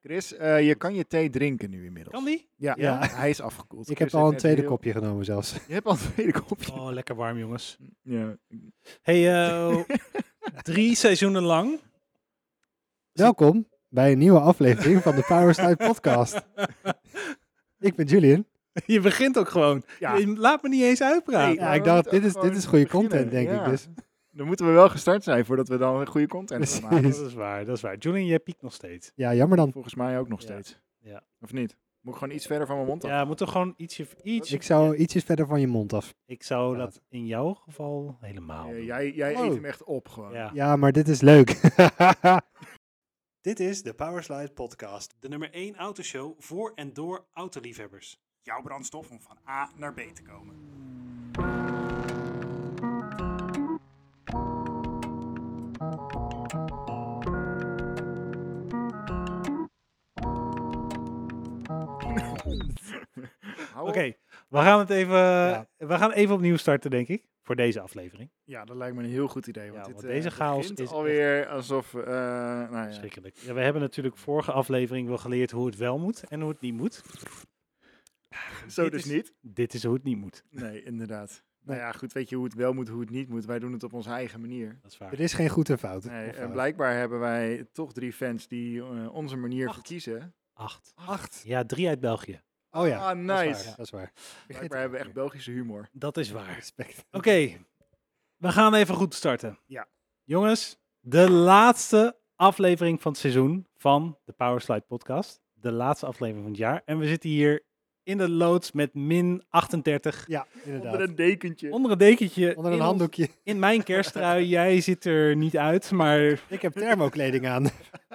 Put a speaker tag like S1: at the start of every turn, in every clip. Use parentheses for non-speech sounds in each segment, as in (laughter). S1: Chris, eh, je kan je thee drinken nu inmiddels.
S2: Kan die?
S1: Ja,
S2: Ja.
S1: ja, hij is afgekoeld.
S3: Ik
S1: Chris
S3: heb
S1: heeft
S3: al een
S1: net
S3: tweede
S1: heel-
S3: kopje genomen zelfs.
S1: Je hebt al een tweede kopje.
S2: Oh, lekker warm, jongens.
S1: Ja.
S2: Hey, (laughs) eh, drie seizoenen lang.
S3: Welkom bij een nieuwe aflevering van de Power Slide podcast. Ik ben Julian.
S2: Je begint ook gewoon.
S1: Ja.
S2: Je laat me niet eens uitpraten.
S1: Nee,
S3: Ja,
S1: maar
S3: ik
S1: we
S3: dacht,
S1: moeten
S3: dit
S1: ook
S3: is, dit
S1: gewoon
S3: is goede
S1: beginnen,
S3: content, denk
S1: ja.
S3: ik. Dus.
S1: Dan moeten we wel gestart zijn voordat we dan goede content gaan maken.
S3: Precies.
S2: Dat is waar, dat is waar. Julian, jij piekt nog steeds.
S3: Ja, jammer dan.
S1: Volgens mij ook nog
S2: Ja.
S1: steeds.
S2: Ja.
S1: Of niet? Moet ik gewoon iets verder van mijn mond af?
S2: Ja, moet er gewoon ietsje... ietsje
S3: Ik zou ietsjes verder van je mond af.
S2: ik zou dat in jouw geval helemaal
S1: Eh,
S2: doen.
S1: jij jij
S3: Oh.
S1: eet hem echt op gewoon.
S2: Ja.
S3: Ja, maar dit is leuk. dit is de Power Slide podcast.
S2: De nummer 1 autoshow voor en door autoliefhebbers.
S1: Jouw brandstof om van A naar B te komen.
S2: Oh. Oké, we gaan het even...
S3: Ja.
S2: We gaan even opnieuw starten, denk ik. Voor deze aflevering.
S1: Ja, dat lijkt me een heel goed idee. Want
S2: Ja,
S1: dit,
S2: want
S1: eh,
S2: deze
S1: dit
S2: chaos
S1: begint
S2: is echt-
S1: alweer alsof. eh, nou ja.
S2: Schrikkelijk. Ja, we hebben natuurlijk vorige aflevering wel geleerd hoe het wel moet en hoe het niet moet.
S1: Zo
S2: Dit
S1: dus
S2: is-
S1: niet.
S2: Dit is hoe het niet moet.
S1: Nee, inderdaad.
S3: Nee.
S1: Nou ja, goed, weet je hoe het wel moet, hoe het niet moet. Wij doen het op onze eigen manier.
S2: Dat is waar.
S3: Er is geen goed en fout.
S1: Nee,
S3: Of eh,
S1: en
S3: fout.
S1: blijkbaar hebben wij toch drie fans die eh, onze manier
S2: Acht.
S1: verkiezen.
S2: Acht.
S1: Acht.
S2: Ja, drie uit België.
S3: Oh ja,
S1: Ah,
S3: dat is waar,
S1: nice.
S3: ja, dat is waar.
S1: Blijkbaar hebben we echt Belgische humor.
S2: Dat is waar. Oké,
S3: respect.
S2: we gaan even goed starten.
S1: Ja.
S2: Jongens, de laatste aflevering van het seizoen van de Powerslide podcast. De laatste aflevering van het jaar. En we zitten hier in de loods met min 38.
S3: Ja,
S1: Onder
S3: inderdaad.
S1: een dekentje.
S2: Onder een dekentje.
S3: Onder een
S2: in ons-
S3: handdoekje.
S2: (laughs) in mijn kersttrui. Jij ziet er niet uit, maar...
S3: Ik heb thermokleding aan.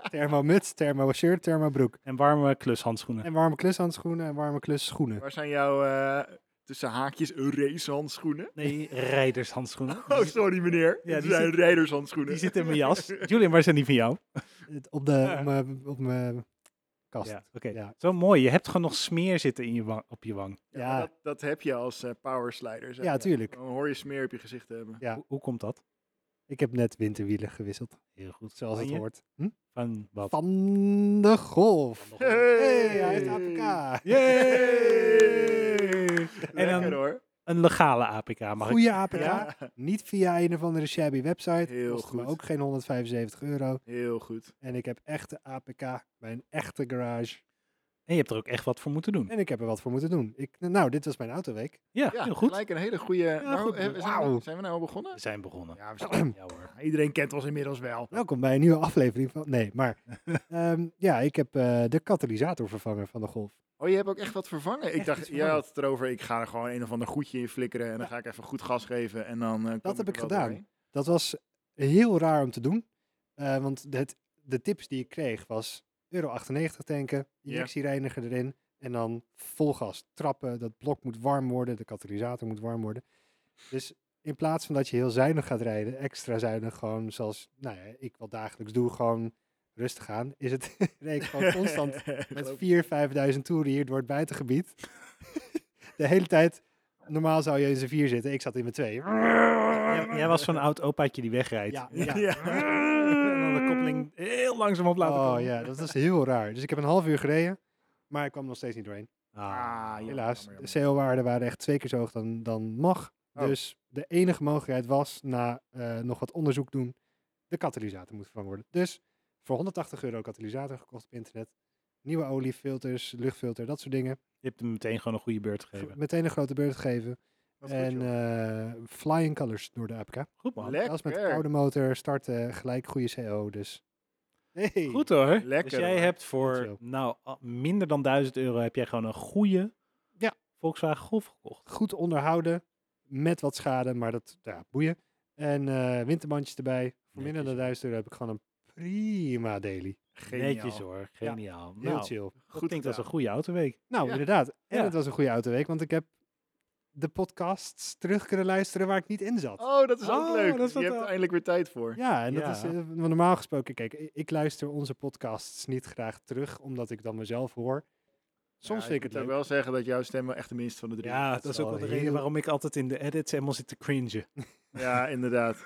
S3: thermomuts, thermo-shirt, thermobroek.
S2: En warme klushandschoenen.
S3: En warme klushandschoenen en warme klusschoenen.
S1: Waar zijn jouw eh, tussen haakjes racehandschoenen?
S2: Nee,
S1: (laughs)
S2: rijdershandschoenen.
S1: Oh, sorry meneer.
S2: Ja,
S1: Ja,
S2: die
S1: die zijn rijdershandschoenen.
S2: Die zitten in mijn jas. Julian, waar zijn die van jou?
S3: Het- Op, de, op mijn- op mijn kast.
S2: Ja,
S3: Ja,
S2: oké. Zo mooi. Je hebt gewoon nog smeer zitten in je wang, op je wang.
S1: Ja, maar Dat, dat heb je als eh powerslider. zeg
S3: Ja,
S1: maar.
S3: tuurlijk.
S1: Dan hoor je smeer op je gezicht te hebben.
S3: Ja.
S2: Hoe, hoe komt dat?
S3: Ik heb net winterwielen gewisseld,
S2: Heel goed.
S3: zoals
S2: Van
S3: het
S2: je?
S3: hoort. Hm?
S2: Van wat?
S3: Van de golf.
S2: Van de golf.
S3: Hey, hij heeft APK.
S2: Yay! En
S1: Lekker
S2: dan
S1: hoor.
S2: een legale APK mag ik.
S3: Goeie APK.
S1: Ja.
S3: Niet via een of andere shabby website.
S1: Heel
S3: Kostte me
S1: goed.
S3: ook geen 175 euro.
S1: Heel goed.
S3: En ik heb echte APK bij een echte garage.
S2: En je hebt er ook echt wat voor moeten doen.
S3: En ik heb er wat voor moeten doen. Ik, nou, dit was mijn autoweek.
S2: Ja,
S1: Ja,
S2: heel goed.
S1: gelijk een hele goede... maar
S2: goed.
S1: hoe- eh, zijn,
S3: Wauw.
S1: we, zijn we nou al begonnen?
S2: We zijn begonnen.
S1: Ja, we zijn-
S2: (clears throat) Ja hoor.
S1: iedereen kent ons inmiddels wel.
S3: Welkom bij een nieuwe aflevering van... Nee, maar...
S2: (laughs)
S3: ehm, ja, ik heb eh, de katalysator vervangen van de golf.
S1: Oh, je hebt ook echt wat vervangen.
S3: Echt
S1: ik dacht,
S3: iets
S1: jij
S3: vervangen.
S1: had het erover, ik ga er gewoon een of ander goedje in flikkeren en dan ga ik even goed gas geven en dan... eh, kom
S3: Dat heb
S1: er
S3: ik
S1: wel
S3: gedaan.
S1: doorheen.
S3: Dat was heel raar om te doen. eh, want het, de tips die ik kreeg was euro 98 tanken,
S1: Ja.
S3: injectiereiniger erin en dan vol gas trappen. Dat blok moet warm worden, de katalysator moet warm worden. Dus in plaats van dat je heel zuinig gaat rijden, extra zuinig gewoon zoals nou ja, ik wel dagelijks doe, gewoon rustig aan, is het (laughs) reed ik gewoon
S1: (laughs)
S3: constant met
S1: Geloof-
S3: 4.000, 5.000 toeren hier door het buitengebied. (laughs) de hele tijd, normaal zou je in z'n vier zitten, ik zat in mijn twee.
S2: Jij, jij was zo'n oud opaatje die wegrijdt.
S3: Ja,
S1: (laughs) Ja.
S3: ja.
S2: (laughs) En dan de koppeling heel langzaam op (laughs) laten
S3: oh
S2: komen.
S3: ja, dat is heel raar. Dus ik heb een half uur gereden, maar ik kwam er nog steeds niet doorheen.
S2: Ah,
S1: Ah,
S3: Helaas,
S1: jammer, jammer.
S3: de CO-waarden waren echt twee keer zo hoog dan, dan mag.
S1: Oh.
S3: Dus de enige mogelijkheid was, na eh, nog wat onderzoek doen, de katalysator moet vervangen worden. Dus voor 180 euro katalysator gekocht op internet. Nieuwe oliefilters, luchtfilter, dat soort dingen.
S2: Je hebt hem meteen gewoon een goede beurt gegeven.
S3: Meteen een grote beurt geven.
S1: Wat goed,
S3: en
S1: joh.
S3: eh, flying colors door de APK.
S2: Goed man.
S1: Lekker.
S3: Zelfs met de koude motor starten, gelijk goede CO. Dus hey,
S2: Goed hoor.
S1: Lekker,
S2: dus jij
S1: hoor.
S2: hebt voor
S3: Dankjewel.
S2: nou, a- minder dan 1000 euro heb jij gewoon een goede
S3: Ja.
S2: Volkswagen Golf gekocht.
S3: goed onderhouden. Met wat schade, maar dat ja, boeien. En eh, winterbandjes erbij. Voor minder
S2: Netjes.
S3: dan 1000 euro heb ik gewoon een prima daily.
S1: Geniaal.
S2: Netjes hoor, geniaal.
S3: Heel
S2: nou,
S3: chill.
S2: Dat
S1: Goed
S2: klinkt als een
S1: gedaan.
S2: goede autoweek.
S3: Nou,
S1: Ja.
S3: inderdaad. En
S2: Ja.
S3: het was een goede autoweek, want ik heb de podcasts terug kunnen luisteren waar ik niet in zat.
S1: Oh, dat is ook
S2: Oh,
S1: leuk.
S2: dat
S1: je
S2: is wat
S1: hebt
S2: wel-
S1: er eindelijk weer tijd voor.
S3: Ja, en dat is
S2: Ja.
S3: eh, want normaal gesproken. Kijk, i- ik luister onze podcasts niet graag terug, omdat ik dan mezelf hoor. Soms
S1: Ja,
S3: vind ik het
S1: moet
S3: leuk.
S1: ook wel zeggen dat jouw stem wel echt de minst van de drie.
S2: Ja,
S3: dat
S2: dat
S3: is
S2: is ook
S3: wel
S2: wel de reden
S3: heel-
S2: waarom ik altijd in de edits helemaal zit te cringen.
S1: Ja, inderdaad.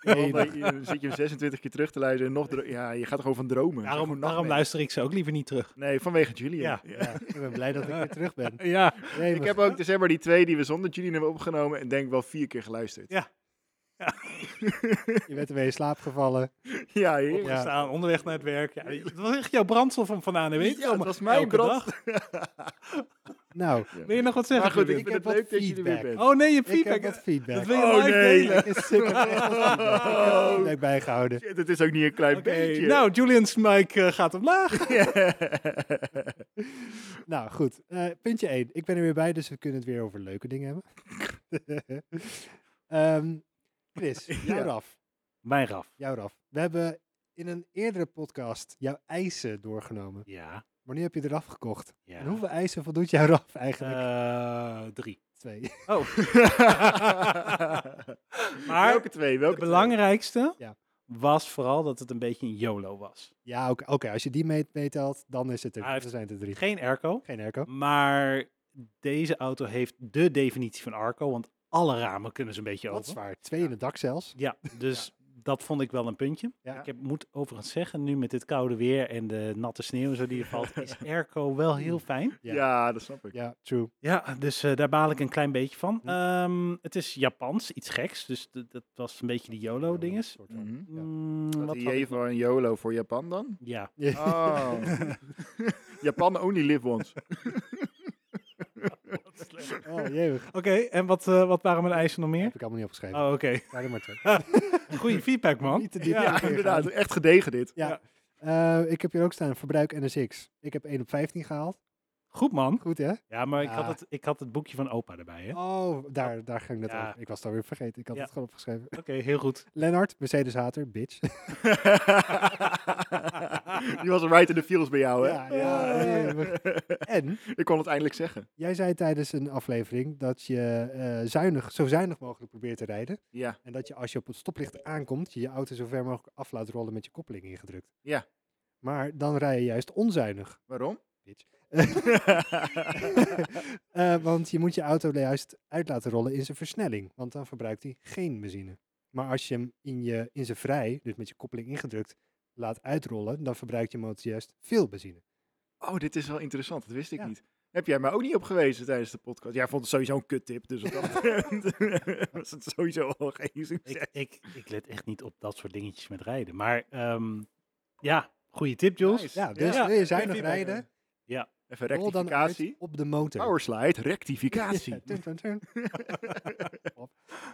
S1: Nee,
S3: (laughs) Nee,
S1: dan dan zit je hem 26 keer terug te luisteren en nog... dro- Ja, je gaat er gewoon van dromen. Gewoon
S2: Daarom, daarom
S1: nachtmerrie.
S2: luister ik ze ook liever niet terug.
S1: Nee, vanwege Julian.
S2: Ja.
S1: Ja.
S3: Ja, ik ben blij dat ik weer terug ben.
S2: Ja,
S3: Nee,
S1: Ik
S3: maar-
S1: heb ook dus zeg maar die twee die we zonder Julian hebben opgenomen en denk wel vier keer geluisterd.
S3: je bent ermee in slaap gevallen.
S1: Ja, heer.
S3: Ja.
S2: opgestaan, onderweg naar het werk. Ja, het was echt jouw brandstof om vandaan. Weet je
S1: Ja,
S2: wel,
S1: het
S2: maar
S1: was mijn
S2: elke dag.
S3: Nou,
S2: Wil je nog wat zeggen?
S1: Maar goed,
S2: Ruben?
S1: ik
S3: Ik
S1: vind het
S3: heb
S1: leuk
S3: wat
S1: dat je er weer
S3: feedback.
S1: bent.
S2: Oh nee, je
S3: ik heb
S2: feedback.
S3: wat
S2: Dat
S3: feedback.
S2: wil je nou
S1: Oh,
S2: live
S1: nee.
S2: delen.
S3: Ik is- ik heb echt wat feedback.
S2: Oh.
S3: Ik heb wat feedback bijgehouden.
S1: Shit, het is ook niet een klein
S2: Oké,
S1: beetje. (laughs)
S2: Nou, Julian's mic eh, gaat omlaag.
S3: Nou, goed. Eh, puntje 1. Ik ben er weer bij, dus we kunnen het weer over leuke dingen hebben. (laughs) Ehm,
S2: (laughs)
S3: Chris, jouw
S1: Ja.
S3: raf.
S2: Mijn raf.
S3: Jouw raf. We hebben in een eerdere podcast jouw eisen doorgenomen.
S2: Ja.
S3: Maar nu heb je eraf gekocht.
S2: ja.
S3: En hoeveel eisen voldoet jouw raf eigenlijk?
S2: Eh, drie.
S3: Twee. (laughs)
S2: Oh,
S1: maar
S2: Maar
S1: welke twee?
S2: het
S1: Welke
S2: belangrijkste
S3: Ja.
S2: was vooral dat het een beetje een YOLO was.
S3: Ja, oké. Oké, als je die mee- meetelt, dan is het er.
S2: Hij heeft
S3: dan zijn het er drie.
S2: Geen airco,
S3: Geen airco.
S2: maar deze auto heeft de definitie van arco, want alle ramen kunnen ze een beetje
S3: Dat is
S2: open.
S3: waar. Twee in het dak zelfs.
S2: (laughs) Ja, dus dat vond ik wel een puntje.
S3: Ja.
S2: Ik heb, moet overigens zeggen, nu met dit koude weer en de natte sneeuw en zo die er (laughs) valt, is airco wel heel fijn.
S1: twee?
S3: Ja.
S1: Ja, dat snap ik.
S3: Ja, true.
S2: Mm. Ja, dus eh, daar baal ik een klein beetje van.
S3: Hm.
S2: Ehm, het is Japans, iets geks, dus d- dat was een beetje die YOLO-dinges.
S3: Soort van.
S1: Mhm.
S2: Mm,
S1: Dat
S2: wat
S1: die
S2: had ik
S1: J van YOLO voor Japan dan?
S2: nog? Ja,
S3: (laughs) Ja.
S1: Oh. (laughs) Japan only live once.
S3: Oh, jee.
S2: Oké, en wat, eh, wat waren mijn eisen nog meer?
S3: Heb ik allemaal niet opgeschreven.
S2: Oh, oké. (laughs)
S3: Waren er maar twee.
S2: Goede feedback, man.
S3: Niet te diep.
S1: Ja,
S2: Ja.
S1: inderdaad. Echt gedegen dit.
S3: Eh, ik heb hier ook staan, verbruik NSX. Ik heb 1 op 15 gehaald.
S2: Goed, man.
S3: Goed, hè?
S2: Ja, maar ik
S3: Ja.
S2: had, het, ik had het boekje van opa erbij, hè? Oké,
S3: Oh, daar, daar ging dat
S2: Ja.
S3: over. Ik was het alweer vergeten. Ik had
S2: Ja.
S3: het gewoon opgeschreven.
S2: heel goed.
S3: Lennart, Mercedes Hater, bitch.
S1: (laughs) Die was right in the feels bij
S2: Oh,
S1: jou, hè?
S3: (laughs) Ja, ja, ja, en
S1: (laughs) Ik kon het eindelijk zeggen.
S3: jij zei tijdens een aflevering dat je eh, zuinig, zo zuinig mogelijk probeert te rijden.
S1: Ja.
S3: En dat je als je op het stoplicht aankomt, je je auto zo ver mogelijk af laat rollen met je koppeling ingedrukt.
S1: Ja.
S3: Maar dan rij je juist onzuinig.
S1: Waarom?
S3: Bitch. (laughs) Eh, want je moet je auto juist uit laten rollen in zijn versnelling. Want dan verbruikt hij geen benzine. Maar als je hem in, je, in zijn vrij, dus met je koppeling ingedrukt, laat uitrollen, dan verbruikt je motor juist veel benzine.
S1: Oh, dit is wel interessant. Dat wist ik
S3: Ja.
S1: niet. Heb jij mij ook niet op gewezen tijdens de podcast? Jij vond het sowieso een kuttip, dus
S3: (laughs)
S1: wat dat betreft (laughs) was het sowieso al geen succes.
S2: (laughs) Ik, ik, ik let echt niet op dat soort dingetjes met rijden. Maar ehm, ja, goede tip, Jules.
S1: Nice.
S3: Ja, dus
S2: Ja,
S3: wil je
S2: goeie
S3: zuinig
S2: feedback.
S3: rijden,
S1: Even
S3: rol dan uit
S1: eh, rectificatie.
S3: op de motor.
S1: Powerslide,
S3: (laughs) Ja,
S1: rectificatie.
S3: turn, turn, turn. Op.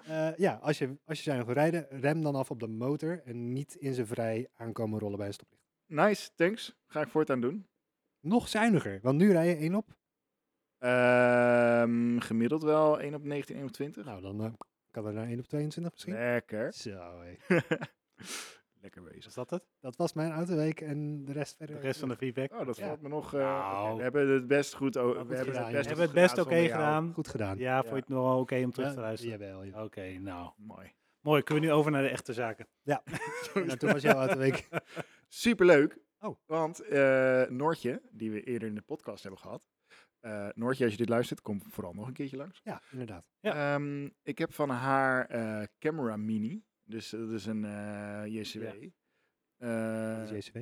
S3: Eh, ja, als je, als je zuinig wil rijden, rem dan af op de motor en niet in zijn vrij aankomen rollen bij een stoplicht.
S1: Nice, thanks. Ga ik voortaan doen.
S3: Nog zuiniger, want nu rij je één op.
S1: Ehm, gemiddeld wel 1 op 19, 1 op 20.
S3: Nou, dan eh, kan er naar 1 op 22 misschien.
S1: Lekker. (laughs)
S3: Zo, hé.
S1: Lekker
S2: Is
S1: bezig.
S2: dat het?
S3: Dat was mijn autoweek en de rest verder.
S2: De rest van de feedback.
S1: Oh, dat
S3: Ja.
S1: valt me nog... eh,
S2: Nou.
S1: oké, we hebben het best goed... o-
S2: goed
S1: we hebben het
S2: gedaan,
S3: joh.
S1: best,
S2: We hebben het
S1: goed
S2: best oké
S1: zonder jou.
S2: gedaan.
S3: eh, Goed gedaan.
S2: Ja, vond je het nog wel oké om terug te
S3: Ja,
S2: luisteren?
S3: Jawel, ja.
S2: Oké, nou.
S1: Mooi.
S2: Mooi, kunnen we nu over naar de echte zaken? Oh,
S3: Nou, toen was jouw
S2: (laughs)
S3: autoweek.
S1: Superleuk.
S3: Oh.
S1: Want eh, Noortje, die we eerder in de podcast hebben gehad. eh, Noortje, als je dit luistert, kom vooral nog een keertje langs.
S3: Ja, inderdaad.
S1: Ehm, ik heb van haar eh, Camera Mini. Dus eh, dat is een eh, JCW. Eh,
S3: Die JCB.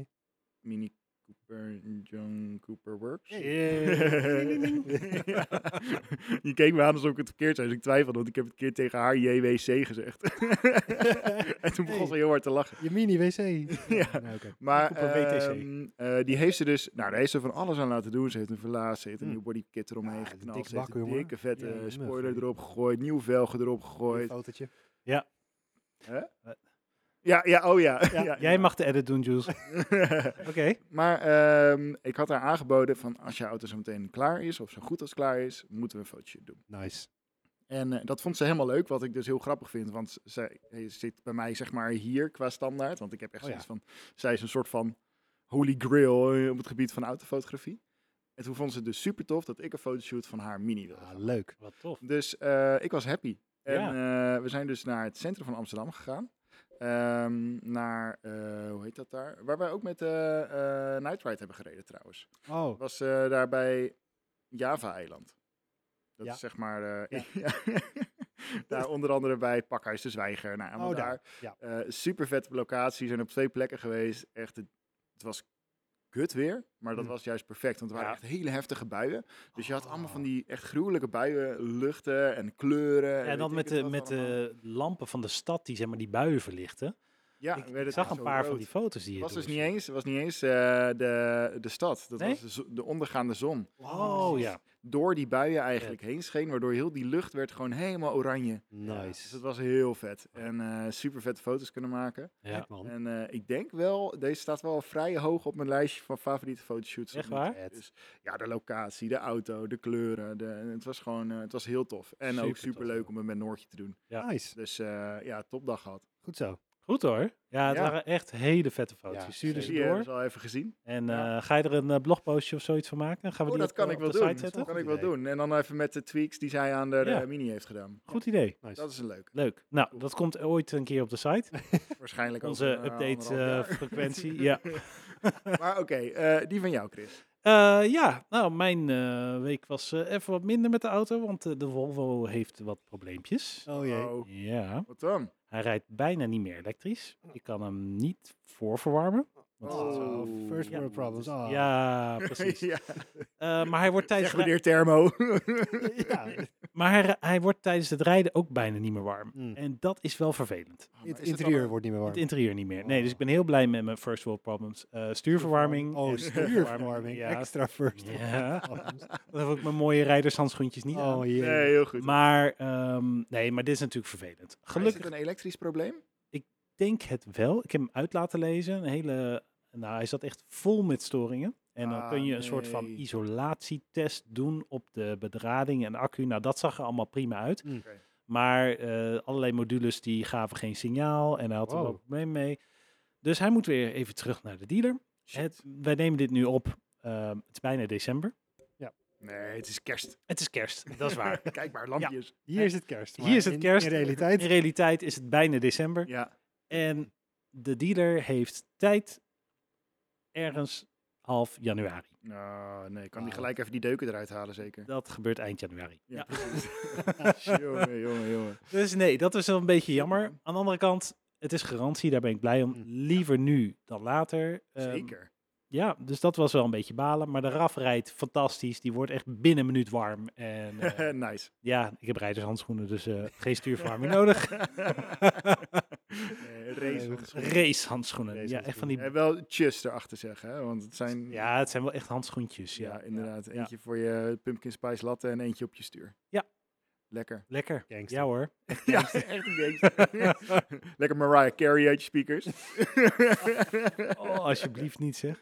S1: Mini Cooper, John Cooper Works.
S2: Ja.
S1: Ja. (laughs) Je keek me aan alsof ik het verkeerd zei. Dus ik twijfelde, want ik heb het een keer tegen haar JWC gezegd. (laughs) en toen begon
S3: Hey.
S1: ze heel hard te lachen.
S3: Je mini-wc.
S2: (laughs)
S1: Ja.
S3: Nou, oké.
S1: Maar
S2: Cooper WTC.
S1: ehm, eh, die heeft ze dus, nou daar heeft ze van alles aan laten doen. Ze heeft een verlaat, ze heeft een
S3: Hmm.
S1: nieuw bodykit eromheen
S3: Ja,
S1: geknald.
S3: dikke
S1: ze heeft
S3: bakken,
S1: een
S3: jongen.
S1: dikke vette
S3: Ja,
S1: eh,
S3: mug,
S1: spoiler
S3: hè.
S1: erop gegooid, nieuw velgen erop
S3: Een
S1: gegooid.
S3: fotootje.
S1: Ja, ja, oh ja. (laughs)
S3: Ja,
S1: ja,
S2: Jij mag de edit doen,
S1: (laughs)
S2: Jules. Oké.
S1: Maar ehm, ik had haar aangeboden van als je auto zo meteen klaar is, of zo goed als klaar is, moeten we een fotootje doen.
S3: Nice.
S1: En eh, dat vond ze helemaal leuk, wat ik dus heel grappig vind. Want zij eh, zit bij mij zeg maar hier qua standaard. Want ik heb echt
S3: Oh ja.
S1: zoiets van, zij is een soort van holy grail eh, op het gebied van autofotografie. En toen vond ze het dus super tof dat ik een fotoshoot van haar mini wilde.
S3: Ah,
S1: gaan.
S3: leuk.
S2: Wat tof.
S1: Dus eh, ik was happy. En eh, we zijn dus naar het centrum van Amsterdam gegaan. Ehm, naar, eh, hoe heet dat daar? Waar wij ook met eh eh Night Ride hebben gereden trouwens.
S3: Oh,
S1: was eh, daar bij Java-eiland. Dat
S3: Ja.
S1: is zeg maar... eh, (laughs) ja. Daar onder andere bij Pakhuis de Zwijger. Nou, allemaal
S3: Oh, daar.
S1: daar. Eh,
S3: Ja.
S1: super vette locaties. We zijn op twee plekken geweest. Echt, het, het was kut weer. Maar dat
S3: Hm.
S1: was juist perfect. Want het waren
S2: Mhm. Ja.
S1: echt hele heftige buien. Dus je had allemaal van
S3: Oh.
S1: die echt gruwelijke buien. Luchten en kleuren.
S2: En dan
S1: weet
S2: met
S1: ik het
S2: de,
S1: wat
S2: met
S1: allemaal.
S2: de lampen van de stad die zeg maar die buien verlichten.
S1: Ja,
S2: ik,
S1: werd het
S2: ik zag
S1: echt
S2: een
S1: zo
S2: paar van
S1: rood.
S2: die foto's die je
S1: Het was dus niet
S2: doorstuurde.
S1: eens, het was niet eens eh, de, de stad. Dat
S2: Nee?
S1: was de, zo- de ondergaande zon.
S2: Oh ja.
S1: Door die buien eigenlijk heen scheen, waardoor heel die lucht werd gewoon helemaal oranje. Dus
S3: Nice.
S1: dat was heel vet. En eh, super vette foto's kunnen maken.
S2: ja.
S3: Kijk, man.
S1: En eh, ik denk wel, deze staat wel vrij hoog op mijn lijstje van favoriete fotoshoots.
S2: Echt waar?
S3: Vet.
S1: Dus, ja, de locatie, de auto, de kleuren. De, het was gewoon, eh, het was heel tof. En ook
S2: Supertof,
S1: super leuk
S2: ja.
S1: om het met Noortje te doen.
S2: Ja.
S3: Nice.
S1: Dus eh, ja, topdag gehad.
S3: Goed zo.
S2: Goed hoor. Ja, het
S1: Ja.
S2: waren echt hele vette foto's.
S3: Ja,
S2: Je stuurde
S1: Dus
S2: ze
S1: die hebben
S2: door.
S1: ze al even gezien.
S2: En
S1: Ja.
S2: eh, ga je er een eh, blogpostje of zoiets van maken? Gaan we
S1: oh,
S2: die
S1: dat
S2: op,
S1: kan
S2: eh,
S1: ik
S2: op
S1: wel
S2: de
S1: doen.
S2: site zetten?
S1: Dat kan
S3: Goed
S1: ik wel
S3: idee.
S1: doen. En dan even met de tweaks die zij aan de
S2: Ja.
S1: eh, mini heeft gedaan.
S2: Goed idee.
S3: Nice.
S1: Dat is een leuk.
S2: Leuk. Nou, dat komt ooit een keer op de site.
S1: Waarschijnlijk ook.
S2: Onze
S1: (laughs)
S2: update eh, frequentie. Ja.
S1: maar oké, eh, die van jou, Chris.
S2: Eh, ja, nou, mijn eh, week was eh, even wat minder met de auto, want eh, de Volvo heeft wat probleempjes.
S3: Oh jee.
S1: Oh,
S2: Ja,
S1: wat dan?
S2: hij rijdt bijna niet meer elektrisch. Je kan hem niet voorverwarmen. Want
S1: Oh.
S2: dat-
S3: Oh, first
S2: Ja.
S3: world problems. Ah.
S2: Ja, (laughs)
S1: (laughs)
S2: precies.
S1: (laughs) ja, Ah,
S2: Eh, maar hij wordt tijdens
S1: zeg
S2: het rij-
S1: meneer Thermo.
S3: (laughs)
S1: (laughs)
S3: Ja.
S2: maar hij, hij wordt tijdens het rijden ook bijna niet meer warm. (laughs)
S3: Mm.
S2: En dat is wel vervelend.
S3: Het interieur wordt niet meer warm.
S2: Het interieur niet meer. Nee, dus ik ben heel blij met mijn first world problems. Eh, stuurverwarming.
S3: Oh,
S2: en-
S3: stuurverwarming.
S2: (laughs) Ja.
S3: Extra first world
S2: Ja, (laughs)
S3: problems.
S2: dan heb ik mijn mooie rijdershandschoentjes niet aan.
S3: Oh jee.
S1: Nee, heel goed.
S2: Maar, ehm, nee, maar dit is natuurlijk vervelend.
S1: Gelukkig.
S2: Gelukkig
S1: Is het een elektrisch probleem?
S2: denk het wel. Ik heb hem uit laten lezen. Een hele, nou, hij zat echt vol met storingen. En dan
S1: Ah,
S2: kun je een soort van
S1: nee.
S2: isolatietest doen op de bedrading en accu. Nou, dat zag er allemaal prima uit.
S3: Mm.
S1: Oké.
S2: Maar eh, allerlei modules die gaven geen signaal en hij had er wel
S3: Wow.
S2: probleem mee. Dus hij moet weer even terug naar de dealer.
S1: Shit.
S2: Het, wij nemen dit nu op. Ehm, het is bijna december.
S1: Nee, het is kerst.
S2: Het is kerst, (laughs) dat is waar.
S1: (laughs) Kijk maar, lampjes.
S3: Hier is het
S2: (laughs)
S3: kerst.
S2: Hier
S3: maar
S2: is het
S3: in-
S2: kerst.
S3: In realiteit.
S2: In realiteit is het bijna december.
S1: Ja.
S2: En de dealer heeft tijd ergens half januari.
S1: Nou, nee, kan die
S3: Wauw.
S1: gelijk even die deuken eruit halen, zeker.
S2: Dat gebeurt eind januari.
S1: Ja,
S2: Ja. (laughs)
S1: precies. (laughs) jongen, jongen, jongen.
S2: Dus nee, dat is wel een beetje
S1: Zonde,
S2: jammer.
S1: man.
S2: Aan de andere kant, het is garantie, daar ben ik blij om.
S3: Mm,
S2: Liever nu dan later. Ehm,
S1: Zeker.
S2: Ja, dus dat was wel een beetje balen. Maar de RAF rijdt fantastisch. Die wordt echt binnen een minuut warm.
S1: (laughs)
S2: En eh,
S1: nice.
S2: ja, ik heb rijdershandschoenen, dus eh, geen
S1: (laughs)
S2: stuurverwarming nodig. (laughs)
S1: Nee, race.
S2: Racehandschoenen. Ja, echt van die...
S1: En wel tjus erachter zeggen, hè? want het zijn...
S2: Ja, het zijn wel echt handschoentjes. Ja,
S1: ja, inderdaad.
S2: Ja.
S1: Eentje voor je pumpkin spice latte en eentje op je stuur.
S2: Ja.
S1: Lekker.
S2: Lekker. (laughs)
S3: Gangster.
S2: Ja hoor.
S1: Ja, echt een gangster. (laughs) Lekker Mariah Carey uit je speakers.
S2: Oh, alsjeblieft niet zeg.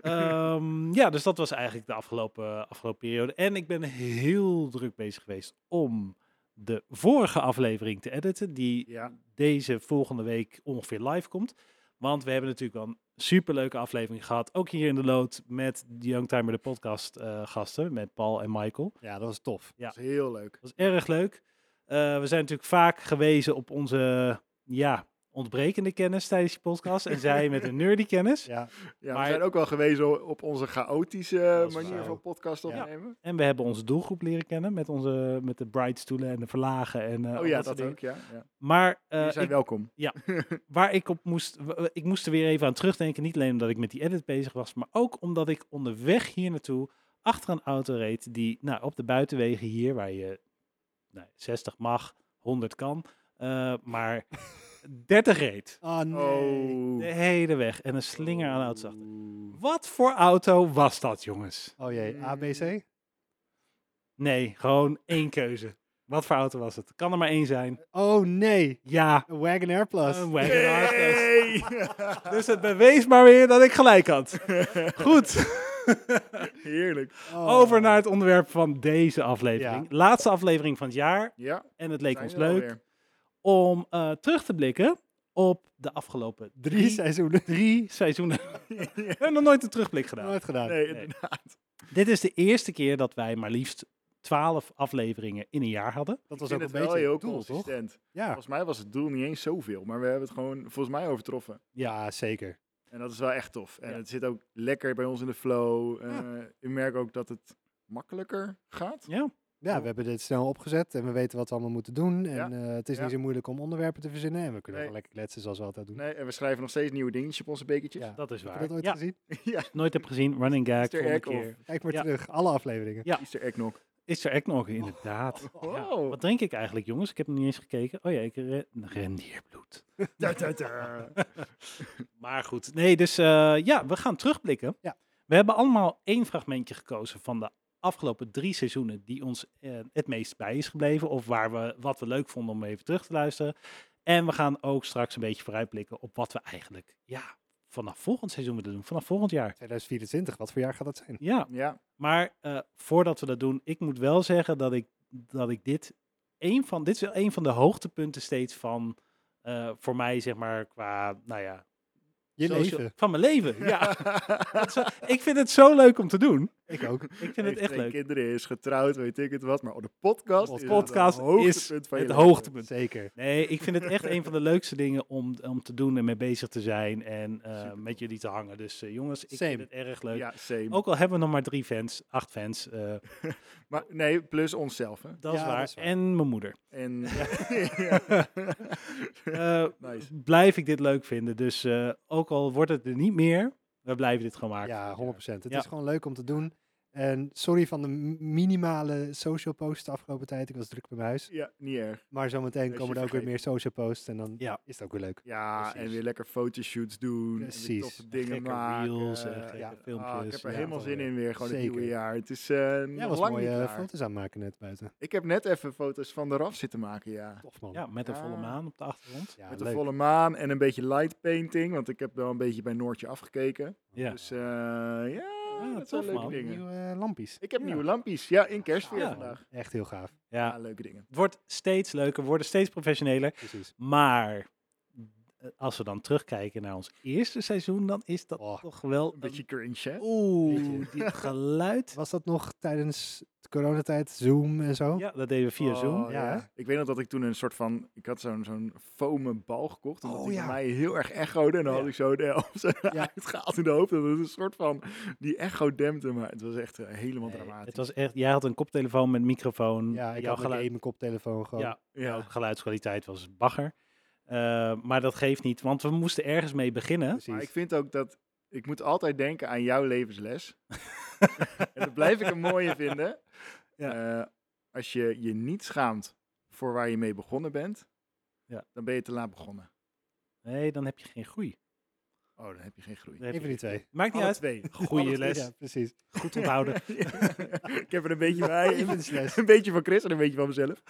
S2: Ehm, ja, dus dat was eigenlijk de afgelopen, afgelopen periode. En ik ben heel druk bezig geweest om de vorige aflevering te editen, die
S1: Ja.
S2: deze volgende week ongeveer live komt. Want we hebben natuurlijk wel een superleuke aflevering gehad, ook hier in de lood met de Youngtimer, de podcast eh, gasten, met Paul en Michael.
S3: Ja, dat was tof.
S1: Dat is heel leuk.
S2: Dat was erg leuk. Eh, we zijn natuurlijk vaak gewezen op onze, ja, ontbrekende kennis tijdens die podcast. en zij met een nerdy kennis.
S3: Ja,
S1: Ja,
S2: Maar-
S1: We zijn ook wel gewezen op onze chaotische
S2: Dat is
S1: manier
S3: waar.
S1: van podcast
S3: Ja.
S1: opnemen.
S2: En we hebben onze doelgroep leren kennen met, onze, met de bridestoelen en de verlagen. En, eh, al
S1: Oh ja,
S2: soort
S1: dat
S2: dingen.
S1: ook, ja. ja.
S2: Maar eh,
S1: Jullie zijn
S2: ik-
S1: welkom.
S2: waar ik op moest, w- w- ik moest er weer even aan terugdenken. Niet alleen omdat ik met die edit bezig was, maar ook omdat ik onderweg hier naartoe achter een auto reed die nou, op de buitenwegen hier, waar je nou, 60 mag, 100 kan, eh,
S1: (laughs)
S2: maar 30 reed.
S3: Ah nee.
S2: De
S1: Oh.
S2: hele weg en een slinger aan auto's achter.
S1: Oeh.
S2: Wat voor auto was dat, jongens?
S3: Oh
S1: Mm.
S3: jee, ABC?
S2: Nee, gewoon één keuze. Wat voor auto was het? Kan er maar één zijn.
S3: Oh nee,
S2: Ja,
S3: een Wagonair Plus.
S1: Oh,
S2: een Wagonaar test.
S1: Hey!
S2: Dus het bewees maar weer dat ik gelijk had. Goed,
S1: (laughs) Heerlijk.
S3: Oh.
S2: over naar het onderwerp van deze aflevering.
S3: Ja.
S2: Laatste aflevering van het jaar.
S1: Ja,
S2: En het leek
S1: zijn
S2: ons
S1: we er
S2: leuk
S1: alweer.
S2: om eh, terug te blikken op de afgelopen
S3: drie
S1: (laughs)
S3: seizoenen.
S2: drie seizoenen. We hebben nog nooit een terugblik gedaan.
S3: (laughs) Nooit gedaan.
S1: Nee,
S2: Nee.
S1: inderdaad.
S2: Dit is de eerste keer dat wij maar liefst twaalf afleveringen in een jaar hadden.
S3: Dat
S1: Ik
S3: was
S1: vind
S3: ook
S1: het
S3: een
S1: wel
S3: beetje
S1: heel
S3: het doel, toch?
S1: consistent.
S3: Ja.
S1: Volgens mij was het doel niet eens zoveel, maar we hebben het gewoon volgens mij overtroffen.
S3: ja, zeker.
S1: En dat is wel echt tof. En
S2: Ja. Ah.
S1: het zit ook lekker bij ons in de flow. Eh
S3: Ja.
S1: Ik merk ook dat het makkelijker gaat.
S2: Ja.
S3: Ja, we hebben dit snel opgezet en we weten wat we allemaal moeten doen. En
S1: Ja.
S3: eh, het is
S1: Ja.
S3: niet zo moeilijk om onderwerpen te verzinnen. En we kunnen
S1: Nee.
S3: wel lekker kletsen zoals we altijd doen.
S1: Nee, en we schrijven nog steeds nieuwe dingetjes op onze bekertjes.
S3: Ja.
S2: Dat is
S3: Heb je
S2: waar.
S3: dat ooit
S2: ja,
S3: gezien?
S1: Ja,
S2: nooit heb gezien. Running gag.
S1: Easter
S2: Volgende
S1: egg of-
S2: keer.
S3: Kijk maar
S2: Ja.
S3: terug, alle afleveringen.
S2: Ja.
S1: Easter egg nog.
S2: Is er echt nog,
S3: Oh.
S2: inderdaad.
S3: (laughs)
S2: Ja.
S1: Wow.
S2: Wat drink ik eigenlijk, jongens? Ik heb nog niet eens gekeken. Oh ja, ik re- rendierbloed.
S1: Da, da,
S3: (laughs)
S1: da.
S2: Maar goed, nee, dus eh, ja, we gaan terugblikken.
S3: Ja.
S2: We hebben allemaal één fragmentje gekozen van de afgelopen drie seizoenen die ons eh, het meest bij is gebleven. Of waar we, wat we leuk vonden om even terug te luisteren. En we gaan ook straks een beetje vooruitblikken op wat we eigenlijk ja, vanaf volgend seizoen willen doen. Vanaf volgend jaar.
S3: 2024, wat voor jaar gaat dat zijn?
S2: Ja, (laughs)
S1: Ja,
S2: maar eh, voordat we dat doen, ik moet wel zeggen dat ik, dat ik dit, een van, dit is wel een van de hoogtepunten steeds van, eh, voor mij zeg maar, qua, nou ja,
S3: Je
S2: social-
S3: leven.
S2: Van mijn
S3: (laughs)
S2: leven, ja. Dat is wel- ik vind het zo leuk om te doen.
S3: Ik ook.
S2: Ik vind het echt leuk.
S1: kinderen is getrouwd, weet ik het wat. Maar oh, de podcast, is
S2: Podcast
S1: het hoogtepunt van je
S2: het
S1: leven.
S2: hoogtepunt.
S3: Zeker.
S2: Nee, ik vind het echt een van de leukste dingen om, om te doen en mee bezig te zijn en eh, met jullie te hangen. Dus eh, jongens, ik
S3: Same.
S2: vind het erg leuk.
S1: Ja, same.
S2: Ook al hebben we nog maar drie fans, acht fans, eh,
S1: Maar nee, plus onszelf. Hè.
S2: dat, is
S3: Ja,
S2: waar.
S3: dat is waar.
S2: En mijn moeder. (laughs)
S1: En (laughs)
S2: Eh,
S3: (laughs)
S1: Nice.
S2: Blijf ik dit leuk vinden. Dus eh, ook al wordt het er niet meer, we blijven dit gewoon maken.
S3: Ja, 100%. Het
S2: Ja.
S3: is gewoon leuk om te doen. En sorry van de m- minimale social posts de afgelopen tijd. Ik was druk bij mijn huis.
S1: ja, niet erg.
S3: Maar zometeen
S1: je
S3: komen er ook weer
S1: vergeten.
S3: meer social posts. En dan
S2: Ja.
S3: is het ook weer leuk.
S1: Ja,
S3: Precies.
S1: en weer lekker fotoshoots doen. En weer
S3: Precies.
S1: toffe dingen
S2: Gekke
S1: maken.
S2: reels en gekke
S1: ja.
S2: filmpjes.
S1: Ah, ik heb er
S2: Ja, eh,
S1: helemaal
S2: dat
S1: zin
S2: wel.
S1: in weer, gewoon het
S3: Zeker.
S1: nieuwe jaar. Het is eh
S3: Jij
S1: nog
S3: was
S1: lang
S3: mooie
S1: niet
S3: eh,
S1: klaar.
S3: foto's aanmaken net buiten.
S1: Ik heb net even foto's van de raf zitten maken, ja.
S3: Tof man.
S2: Ja, met een volle
S1: Ja.
S2: maan op de achtergrond.
S3: Ja,
S1: Met
S3: leuk.
S1: de volle maan en een beetje light painting, want ik heb wel een beetje bij Noortje afgekeken.
S2: Ja.
S1: Dus eh, ja,
S2: Ah,
S1: dat zijn
S2: tof,
S1: leuke
S2: man.
S1: dingen.
S3: Nieuwe eh, lampjes.
S1: Ik heb
S2: Ja.
S1: nieuwe lampjes, ja, in kerstfeer
S2: Ja.
S1: vandaag.
S3: Echt heel gaaf.
S1: Ja.
S2: Ja,
S1: leuke dingen.
S2: het wordt steeds leuker, we worden steeds professioneler.
S3: Precies.
S2: Maar eh, als we dan terugkijken naar ons eerste seizoen, dan is dat
S3: Oh,
S2: toch wel
S1: Een beetje cringe, hè?
S2: een- Oeh,
S3: beetje. (laughs)
S2: dit geluid.
S3: Was dat nog tijdens de coronatijd? Zoom en zo?
S2: Ja, dat deden we via Zoom.
S1: Oh,
S3: ja.
S1: Ik weet nog dat ik toen een soort van, ik had zo'n zo'n foamen bal gekocht, omdat
S3: Oh,
S1: die
S3: ja.
S1: bij mij heel erg echode en dan
S2: Ja.
S1: had ik zo de helft (laughs)
S3: Ja.
S1: uitgehaald in de hoop dat het een soort van die echo dempte, maar het was echt eh, helemaal
S2: Nee,
S1: dramatisch.
S2: het was echt, jij had een koptelefoon met microfoon.
S3: Ja, ik
S2: Jouw
S3: had met
S2: geluid-
S3: één mijn koptelefoon gewoon.
S2: Ja,
S1: ja.
S2: Ook geluidskwaliteit was bagger. Eh, maar dat geeft niet, want we moesten ergens mee beginnen.
S1: Maar ik
S3: Precies.
S1: vind ook dat ik moet altijd denken aan jouw levensles. en dat blijf ik
S2: (laughs)
S1: een mooie vinden. Eh, als je je niet schaamt voor waar je mee begonnen bent,
S2: Ja.
S1: dan ben je te laat begonnen.
S2: (laughs) Nee, dan heb je geen groei.
S1: Oh, dan heb je geen groei.
S2: Dan heb
S3: Even
S2: je-
S3: die twee.
S2: Maakt niet
S1: Alle
S2: uit.
S1: twee.
S2: Goede les.
S3: Ja, precies.
S1: (laughs)
S2: Goed onthouden.
S1: ik heb er een beetje
S3: (laughs)
S1: bij.
S3: Levensles.
S1: een beetje van Chris en een beetje van mezelf.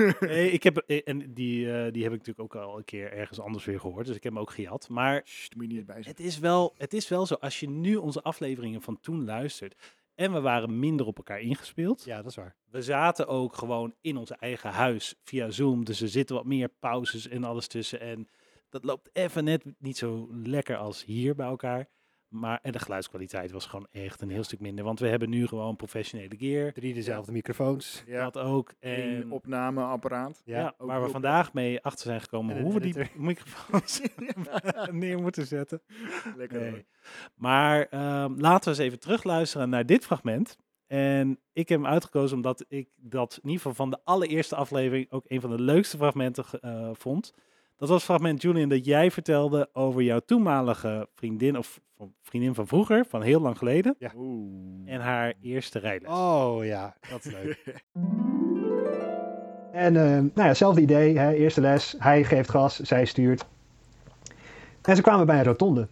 S2: (laughs) nee, ik heb, eh, en die, eh, die heb ik natuurlijk ook al een keer ergens anders weer gehoord. Dus ik heb hem ook gejat. Maar
S1: Sst, moet je niet bij zijn.
S2: het is, wel, het is wel zo, als je nu onze afleveringen van toen luistert. En we waren minder op elkaar ingespeeld.
S3: Ja, dat is waar.
S2: We zaten ook gewoon in ons eigen huis via Zoom. Dus er zitten wat meer pauzes en alles tussen. En dat loopt even net niet zo lekker als hier bij elkaar. Maar en de geluidskwaliteit was gewoon echt een heel stuk minder. Want we hebben nu gewoon professionele gear.
S3: Drie dezelfde microfoons.
S1: Ja,
S2: Dat ook.
S1: een
S2: En,
S1: opnameapparaat.
S2: ja,
S3: Ja.
S1: ook
S2: waar we
S1: heel
S2: vandaag mee achter zijn gekomen
S3: En een
S2: hoe we die
S3: editor. (laughs)
S2: microfoons (laughs) neer moeten zetten.
S1: Lekker
S2: Nee.
S1: hoor.
S2: Maar ehm, laten we eens even terugluisteren naar dit fragment. En ik heb hem uitgekozen omdat ik dat in ieder geval van de allereerste aflevering ook een van de leukste fragmenten ge- eh, vond. Dat was het fragment, Julian, dat jij vertelde over jouw toenmalige vriendin, of van- vriendin van vroeger, van heel lang geleden,
S3: Ja.
S1: Oeh.
S2: en haar eerste rijles.
S3: Oh ja, dat is leuk. (laughs) En eh, nou ja, hetzelfde idee. Hè, eerste les. Hij geeft gas, zij stuurt. En ze kwamen bij een rotonde.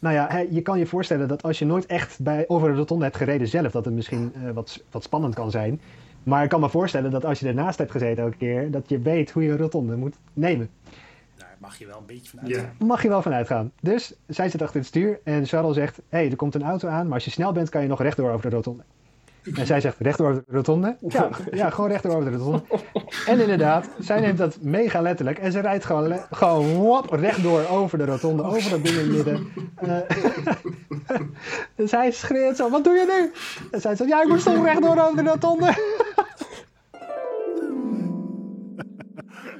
S3: Nou ja, hè, je kan je voorstellen dat als je nooit echt bij, over een rotonde hebt gereden zelf, dat het misschien eh, wat, wat spannend kan zijn. Maar ik kan me voorstellen dat als je ernaast hebt gezeten elke keer, dat je weet hoe je een rotonde moet nemen.
S2: Daar mag je wel een beetje van
S1: Ja.
S3: Mag je wel van uitgaan. Dus zij zit achter het stuur en Charles zegt, hé, hey, er komt een auto aan, maar als je snel bent kan je nog rechtdoor over de rotonde. En zij zegt, rechtdoor over de rotonde? Ja, ja gewoon rechtdoor over de rotonde. En inderdaad, zij neemt dat mega letterlijk. En ze rijdt gewoon, le- gewoon wop, rechtdoor over de rotonde, over dat ding in het midden. Eh, (laughs) en zij schreeuwt zo, wat doe je nu? En zij zegt, ja, ik moet toch rechtdoor over de rotonde.
S1: (laughs)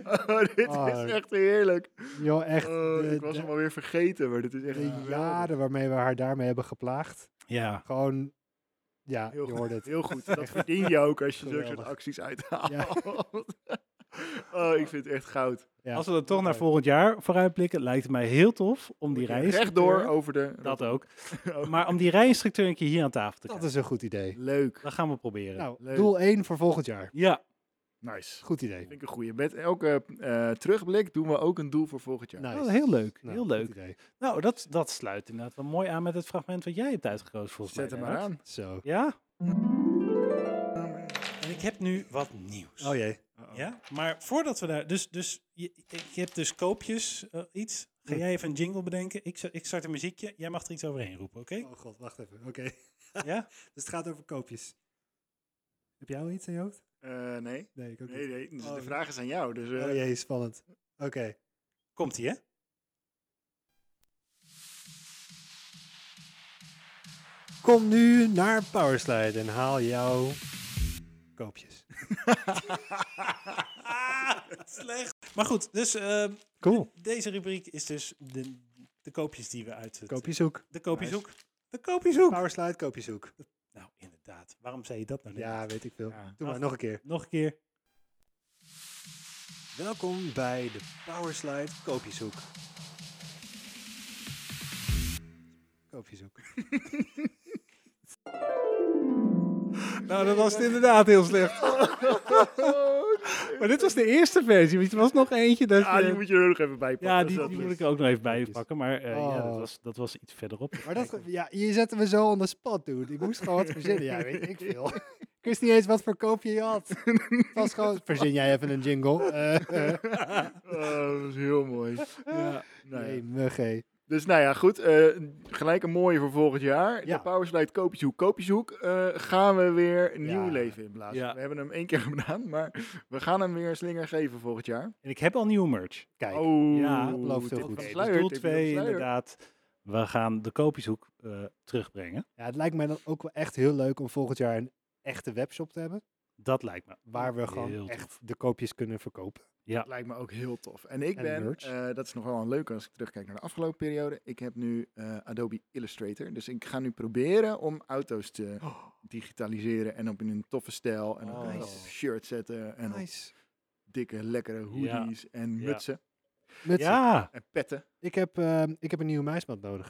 S1: Oh, dit
S3: Oh.
S1: is echt heerlijk.
S3: Joh, echt.
S1: Oh, ik was hem alweer vergeten, maar dit is echt geweldig.
S3: waarmee we haar daarmee hebben geplaagd.
S2: Ja,
S3: Gewoon, Ja,
S1: Heel
S3: je
S1: goed.
S3: hoorde het.
S1: Heel goed. Dat
S3: Echt
S1: verdien je ook als je zulke soort
S3: geweldig.
S1: acties uithaalt. (laughs) oh, ik vind het echt goud.
S3: Ja.
S2: Als we dan toch naar
S3: Mooi.
S2: volgend jaar vooruitblikken, lijkt het mij heel tof om die reis...
S1: Rechtdoor over de...
S2: Dat ook.
S1: Oh,
S2: Maar om die rijinstructeur een keer hier aan tafel te
S3: Dat
S2: krijgen.
S3: is een goed idee.
S1: Leuk.
S2: Dat gaan we proberen.
S3: Nou,
S1: Leuk.
S3: doel 1 voor volgend jaar.
S2: Ja,
S1: Nice.
S3: Goed idee.
S1: Vind ik een goeie. Met elke eh, terugblik doen we ook een doel voor volgend jaar.
S3: Nice.
S2: dat is Oh, heel leuk.
S3: Nou,
S2: heel
S3: goed
S2: leuk.
S3: idee.
S2: Nou, dat, dat sluit inderdaad wel mooi aan met het fragment wat jij hebt uitgekozen volgens
S1: Zet
S2: mij.
S1: hem maar
S2: Lennart.
S1: aan.
S3: Zo.
S2: Ja? En ik heb nu wat nieuws.
S3: Oh jee.
S2: Ja, maar voordat we daar... Dus, dus je, ik heb dus koopjes, eh, iets. Ga jij even een jingle bedenken? Ik, z- ik start een muziekje. Jij mag er iets overheen roepen, oké?
S3: Oh god, wacht even. Oké.
S2: Ja?
S3: (laughs) Dus het gaat over koopjes. Heb jij al iets in je hoofd?
S1: Eh, nee.
S3: Nee, ik ook
S1: Nee, nee. Dus
S3: Oh,
S1: de vraag is aan jou. Dus, eh,
S3: Oh jee, spannend. Oké.
S2: Komt-ie, hè?
S3: Kom nu naar Powerslide en haal jouw koopjes.
S2: Ah, (laughs) slecht. Maar goed, dus ehm,
S3: (laughs) Cool.
S2: deze rubriek is dus de, de koopjes die we uit het...
S3: Koopjeshoek.
S2: De koopjes
S1: Nice.
S2: ook. De koopjes ook.
S3: Powerslide, koopjeshoek.
S2: Nou, inderdaad. Waarom zei je dat nou net?
S3: Ja, weet ik veel.
S1: ja.
S3: Doe maar
S2: Ach.
S3: nog een keer.
S2: Nog een keer.
S3: Welkom bij de Powerslide koopjeshoek. Koopjeshoek.
S2: Nou, dat was inderdaad heel slecht.
S1: (laughs)
S2: maar dit was de eerste versie, want er was nog eentje. Dat
S1: Ah, die moet je er nog even bij pakken.
S2: Eh, ja,
S1: als
S2: die,
S1: dat
S2: die
S1: lukt.
S2: moet ik er ook nog even bij pakken. Maar eh, ja, dat
S3: Oh.
S2: was, dat was iets verderop.
S3: Maar dat, ja, je zette me zo on the spot, dude. Ik moest gewoon wat verzinnen. Ja, weet ik veel. Ik wist niet eens wat voor koopje je had. Het was gewoon, verzin jij even een (laughs) jingle. Eh, eh.
S1: Oh, dat is heel mooi.
S2: Ja.
S1: Nou ja.
S3: nee, mugge.
S1: Dus nou ja, goed. eh, gelijk een mooie voor volgend jaar.
S3: Ja.
S1: De Powerslide Koopjeshoek. Koopjeshoek eh, gaan we weer nieuw
S3: Ja.
S1: leven inblazen.
S2: Ja.
S1: We hebben hem één keer (laughs) gedaan, maar we gaan hem weer een slinger geven volgend jaar.
S2: En ik heb al nieuwe merch.
S3: Kijk,
S1: Oh,
S2: Ja,
S1: dit
S3: belooft heel
S1: wordt
S3: goed.
S2: Dus
S1: versluierd,
S2: doel
S1: dit wordt
S2: 2
S1: versluierd.
S2: inderdaad. We gaan de koopjeshoek eh, terugbrengen.
S3: ja, het lijkt mij dan ook wel echt heel leuk om volgend jaar een echte webshop te hebben.
S2: Dat lijkt me.
S3: Waar we
S2: heel
S3: gewoon
S2: tof.
S3: echt de koopjes kunnen verkopen.
S1: Dat lijkt me ook heel tof. En ik
S3: En
S1: ben,
S3: merch.
S1: eh, dat is nog wel een leuke als ik terugkijk naar de afgelopen periode. Ik heb nu eh, Adobe Illustrator. Dus ik ga nu proberen om auto's te
S3: Oh.
S1: digitaliseren en op in een toffe stijl. En op-
S2: Oh.
S1: op shirt zetten en op
S3: Nice.
S1: dikke, lekkere hoodies en
S2: Ja.
S1: mutsen
S3: Mutsen.
S2: Ja,
S1: en petten.
S3: Ik heb, ehm, ik heb een nieuwe muismat nodig.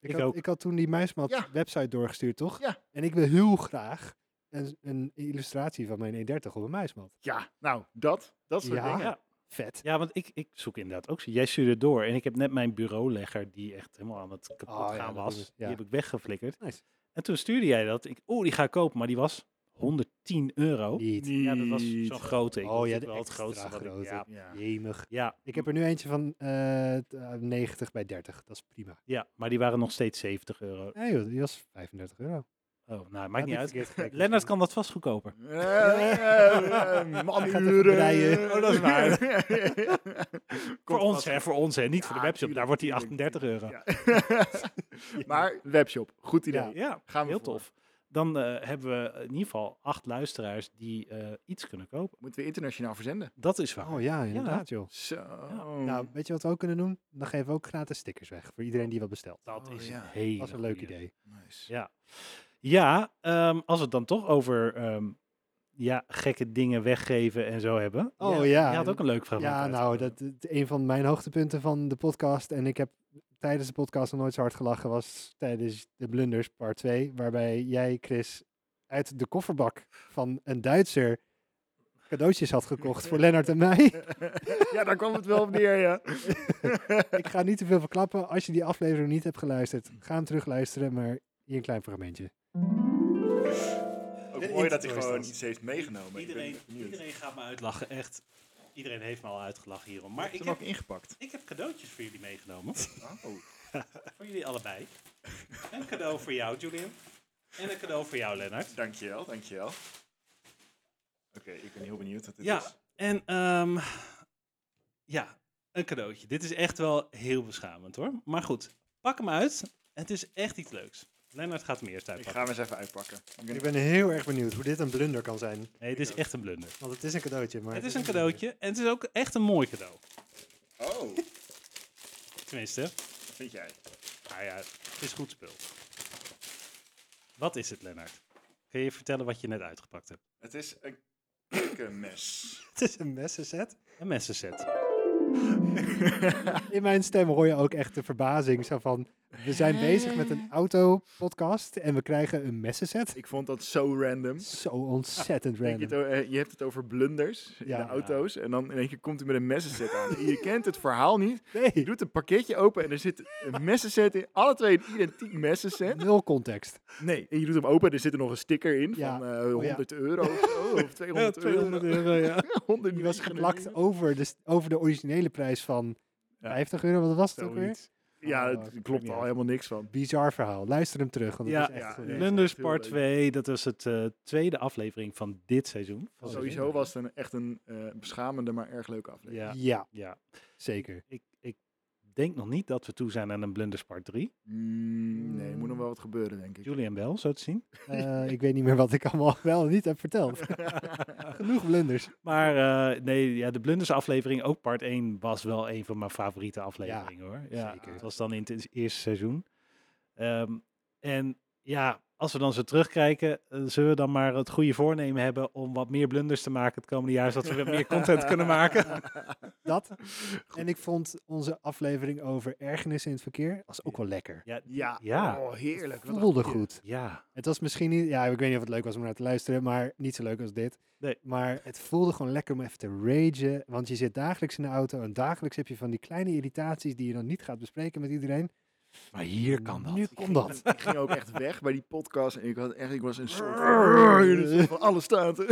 S3: Ik,
S2: Ik
S3: had,
S2: ook.
S3: ik had toen die muismat
S1: Ja.
S3: website doorgestuurd, toch?
S1: Ja.
S3: En ik wil heel graag een, een illustratie van mijn 130 op een muismat.
S1: Ja, nou, dat, dat soort
S3: Ja.
S1: dingen.
S2: ja.
S3: Vet.
S2: ja, want ik, ik zoek inderdaad ook. zo- Jij stuurde het door. En ik heb net mijn bureaulegger, die echt helemaal aan het kapot
S3: Oh, ja,
S2: gaan
S3: dat
S2: was,
S3: is-
S2: die
S3: ja.
S2: heb ik weggeflikkerd.
S3: Nice.
S2: En toen stuurde jij dat. Ik, oh, die ga ik kopen. Maar die was 110 euro.
S3: Niet.
S2: Ja, dat was
S1: Niet.
S2: zo'n grote. Ik
S3: Oh,
S2: vond
S3: ja,
S2: dit
S3: de
S2: wel het
S3: extra
S2: grootste. Wat ik,
S3: grote.
S2: ja,
S1: Ja.
S3: Jemig.
S2: ja,
S3: Ik heb er nu eentje van eh, t- eh, 90 bij 30. Dat is prima.
S2: ja, maar die waren nog steeds 70 euro.
S3: Nee joh, die was 35 euro.
S2: Oh, nou, maakt niet uit. Lennart
S3: Lennart
S2: kan dat vast goedkoper.
S1: Eh, eh,
S3: (laughs)
S1: Manuren.
S3: breien.
S2: Oh, dat is
S1: (laughs)
S2: waar. voor
S1: Komt
S2: ons,
S1: vast
S2: hè, voor ons, hè. Niet voor de
S1: Ja,
S2: webshop. Daar
S1: tuurlijk,
S2: wordt die
S1: tuurlijk,
S2: 38 euro.
S1: Ja. maar webshop, goed idee.
S3: Ja.
S2: Ja,
S1: Gaan we
S2: heel
S1: voor.
S2: tof. Dan eh, hebben we in ieder geval acht luisteraars die eh, iets kunnen kopen.
S1: Moeten we internationaal verzenden?
S2: Dat is waar.
S3: Oh ja, inderdaad joh.
S1: Zo.
S3: Nou, weet je wat we ook kunnen doen? Dan geven we ook gratis stickers weg voor iedereen die wat bestelt.
S2: dat
S1: oh,
S2: is
S1: ja.
S2: een hele
S3: Dat is een leuk
S2: goeie.
S3: idee.
S1: Nice.
S2: Ja, ja ehm, als we het dan toch over ehm, ja, gekke dingen weggeven en zo hebben.
S3: Oh, ja.
S2: Je had ook een leuk vraag.
S3: Ja, nou, dat, dat- een van mijn hoogtepunten van de podcast. En ik heb tijdens de podcast nog nooit zo hard gelachen. Was tijdens de Blunders part 2. Waarbij jij, Chris, uit de kofferbak van een Duitser cadeautjes had gekocht voor Lennart en (laughs) mij.
S1: ja, daar kwam het wel op neer, ja.
S3: ik ga niet te veel verklappen. Als je die aflevering niet hebt geluisterd, ga hem terugluisteren. Maar hier een klein fragmentje.
S1: Ook
S3: De mooi dat hij gewoon iets
S1: heeft meegenomen.
S2: Iedereen, iedereen gaat me uitlachen, echt. Iedereen heeft me al uitgelachen hierom. Maar ik
S1: hem ook
S2: heb,
S1: ingepakt.
S2: ik heb cadeautjes voor jullie meegenomen.
S1: Oh.
S2: (laughs) voor jullie allebei. Een cadeau voor jou, Julian. En een cadeau voor jou, Lennart.
S1: Dankjewel, dankjewel. Oké, ik ben heel benieuwd wat dit
S2: Ja, en ehm, ja, een cadeautje. Dit is echt wel heel beschamend hoor. Maar goed, pak hem uit. Het is echt iets leuks. Lennart gaat hem eerst
S1: Ik
S2: uitpakken.
S1: ga hem eens even uitpakken. Ik ben-
S3: Ik ben heel erg benieuwd hoe dit een blunder kan zijn.
S2: Nee, het is echt een blunder.
S3: Want het is een cadeautje. Maar
S2: Het is een cadeautje en het is ook echt een mooi cadeau.
S1: Oh,
S2: Tenminste,
S1: vind jij?
S2: nou ja, het is goed spul. Wat is het, Lennart?
S4: Kun je vertellen wat je net uitgepakt hebt?
S1: Het is een keukenmes.
S3: (laughs) Het is een messenset.
S4: Een messenset.
S3: In mijn stem hoor je ook echt de verbazing. Zo van, we zijn bezig met een autopodcast en we krijgen een messenset.
S1: Ik vond dat zo random.
S3: Zo
S1: (laughs)
S3: ontzettend
S1: Denk Je, het
S3: random.
S1: o- eh, je hebt het over blunders in
S3: Ja.
S1: de auto's. En dan in één keer komt hij met een messenset aan.
S3: (laughs)
S1: Je kent het verhaal niet. Je
S3: Nee,
S1: doet een pakketje open en er zit een messenset in. Alle twee een identiek messenset.
S3: nul
S1: (laughs)
S3: context.
S1: Nee. En je doet hem open en er zit er nog een sticker in
S3: Ja. Oh,
S1: van eh,
S3: ja.
S1: 100 euro of,
S3: (laughs)
S1: zo, of 200, (laughs) euro.
S2: euro, ja.
S1: 100
S3: Die was geplakt Oh, over de, over de originele prijs van
S1: Ja.
S3: 50 euro. Wat was het ook weer?
S1: Zoiets. Ja,
S3: Oh,
S1: het
S3: ik
S1: klopt al
S3: weet niet. Oh,
S1: helemaal niks van.
S3: Bizar verhaal. Luister hem terug, want het
S2: Ja,
S3: is echt
S1: ja,
S3: geweldig.
S1: ja.
S2: Blunders
S1: heel
S2: Part
S1: leuk.
S2: 2, dat was het eh, tweede aflevering van dit seizoen. Van
S3: Oh,
S1: Sowieso
S2: seizoen.
S1: was het een, echt een eh, beschamende, maar erg leuke aflevering.
S2: Ja,
S3: Ja,
S2: ja.
S3: zeker.
S2: Ik, ik denk nog niet dat we toe zijn aan een Blunders Part 3.
S1: Mm, nee, er moet nog wel wat gebeuren, denk ik.
S2: Julian wel, zo te zien.
S3: Eh, ik weet niet meer wat ik allemaal (laughs) wel en niet heb
S1: (laughs)
S3: verteld. Genoeg blunders.
S2: Maar eh, nee, ja, de Blunders aflevering, ook part 1, was wel een van mijn favoriete afleveringen hoor. Ja,
S3: zeker.
S2: Het was dan in het e- eerste seizoen. Ehm, en ja, als we dan zo terugkijken, eh, zullen we dan maar het goede voornemen hebben om wat meer blunders te maken het komende jaar, zodat we wat meer
S1: (laughs)
S2: content kunnen
S3: (laughs)
S2: maken.
S3: Dat. En ik vond onze aflevering over ergernissen in het verkeer was ook wel lekker.
S2: Ja,
S1: Ja,
S2: Ja.
S1: Oh, heerlijk. wat een
S3: Voelde
S1: goeie.
S3: goed.
S2: ja,
S3: Het was misschien niet, ja, ik weet niet of het leuk was om naar te luisteren, maar niet zo leuk als dit.
S2: Nee.
S3: Maar het voelde gewoon lekker om even te ragen, want je zit dagelijks in de auto en dagelijks heb je van die kleine irritaties die je dan niet gaat bespreken met iedereen.
S2: maar hier kan dat.
S3: Nu kon dat. (laughs)
S1: Ik ging ook echt weg bij die podcast en ik, had echt, ik was een (laughs) soort van, een soort Oh, van alle (laughs) staten.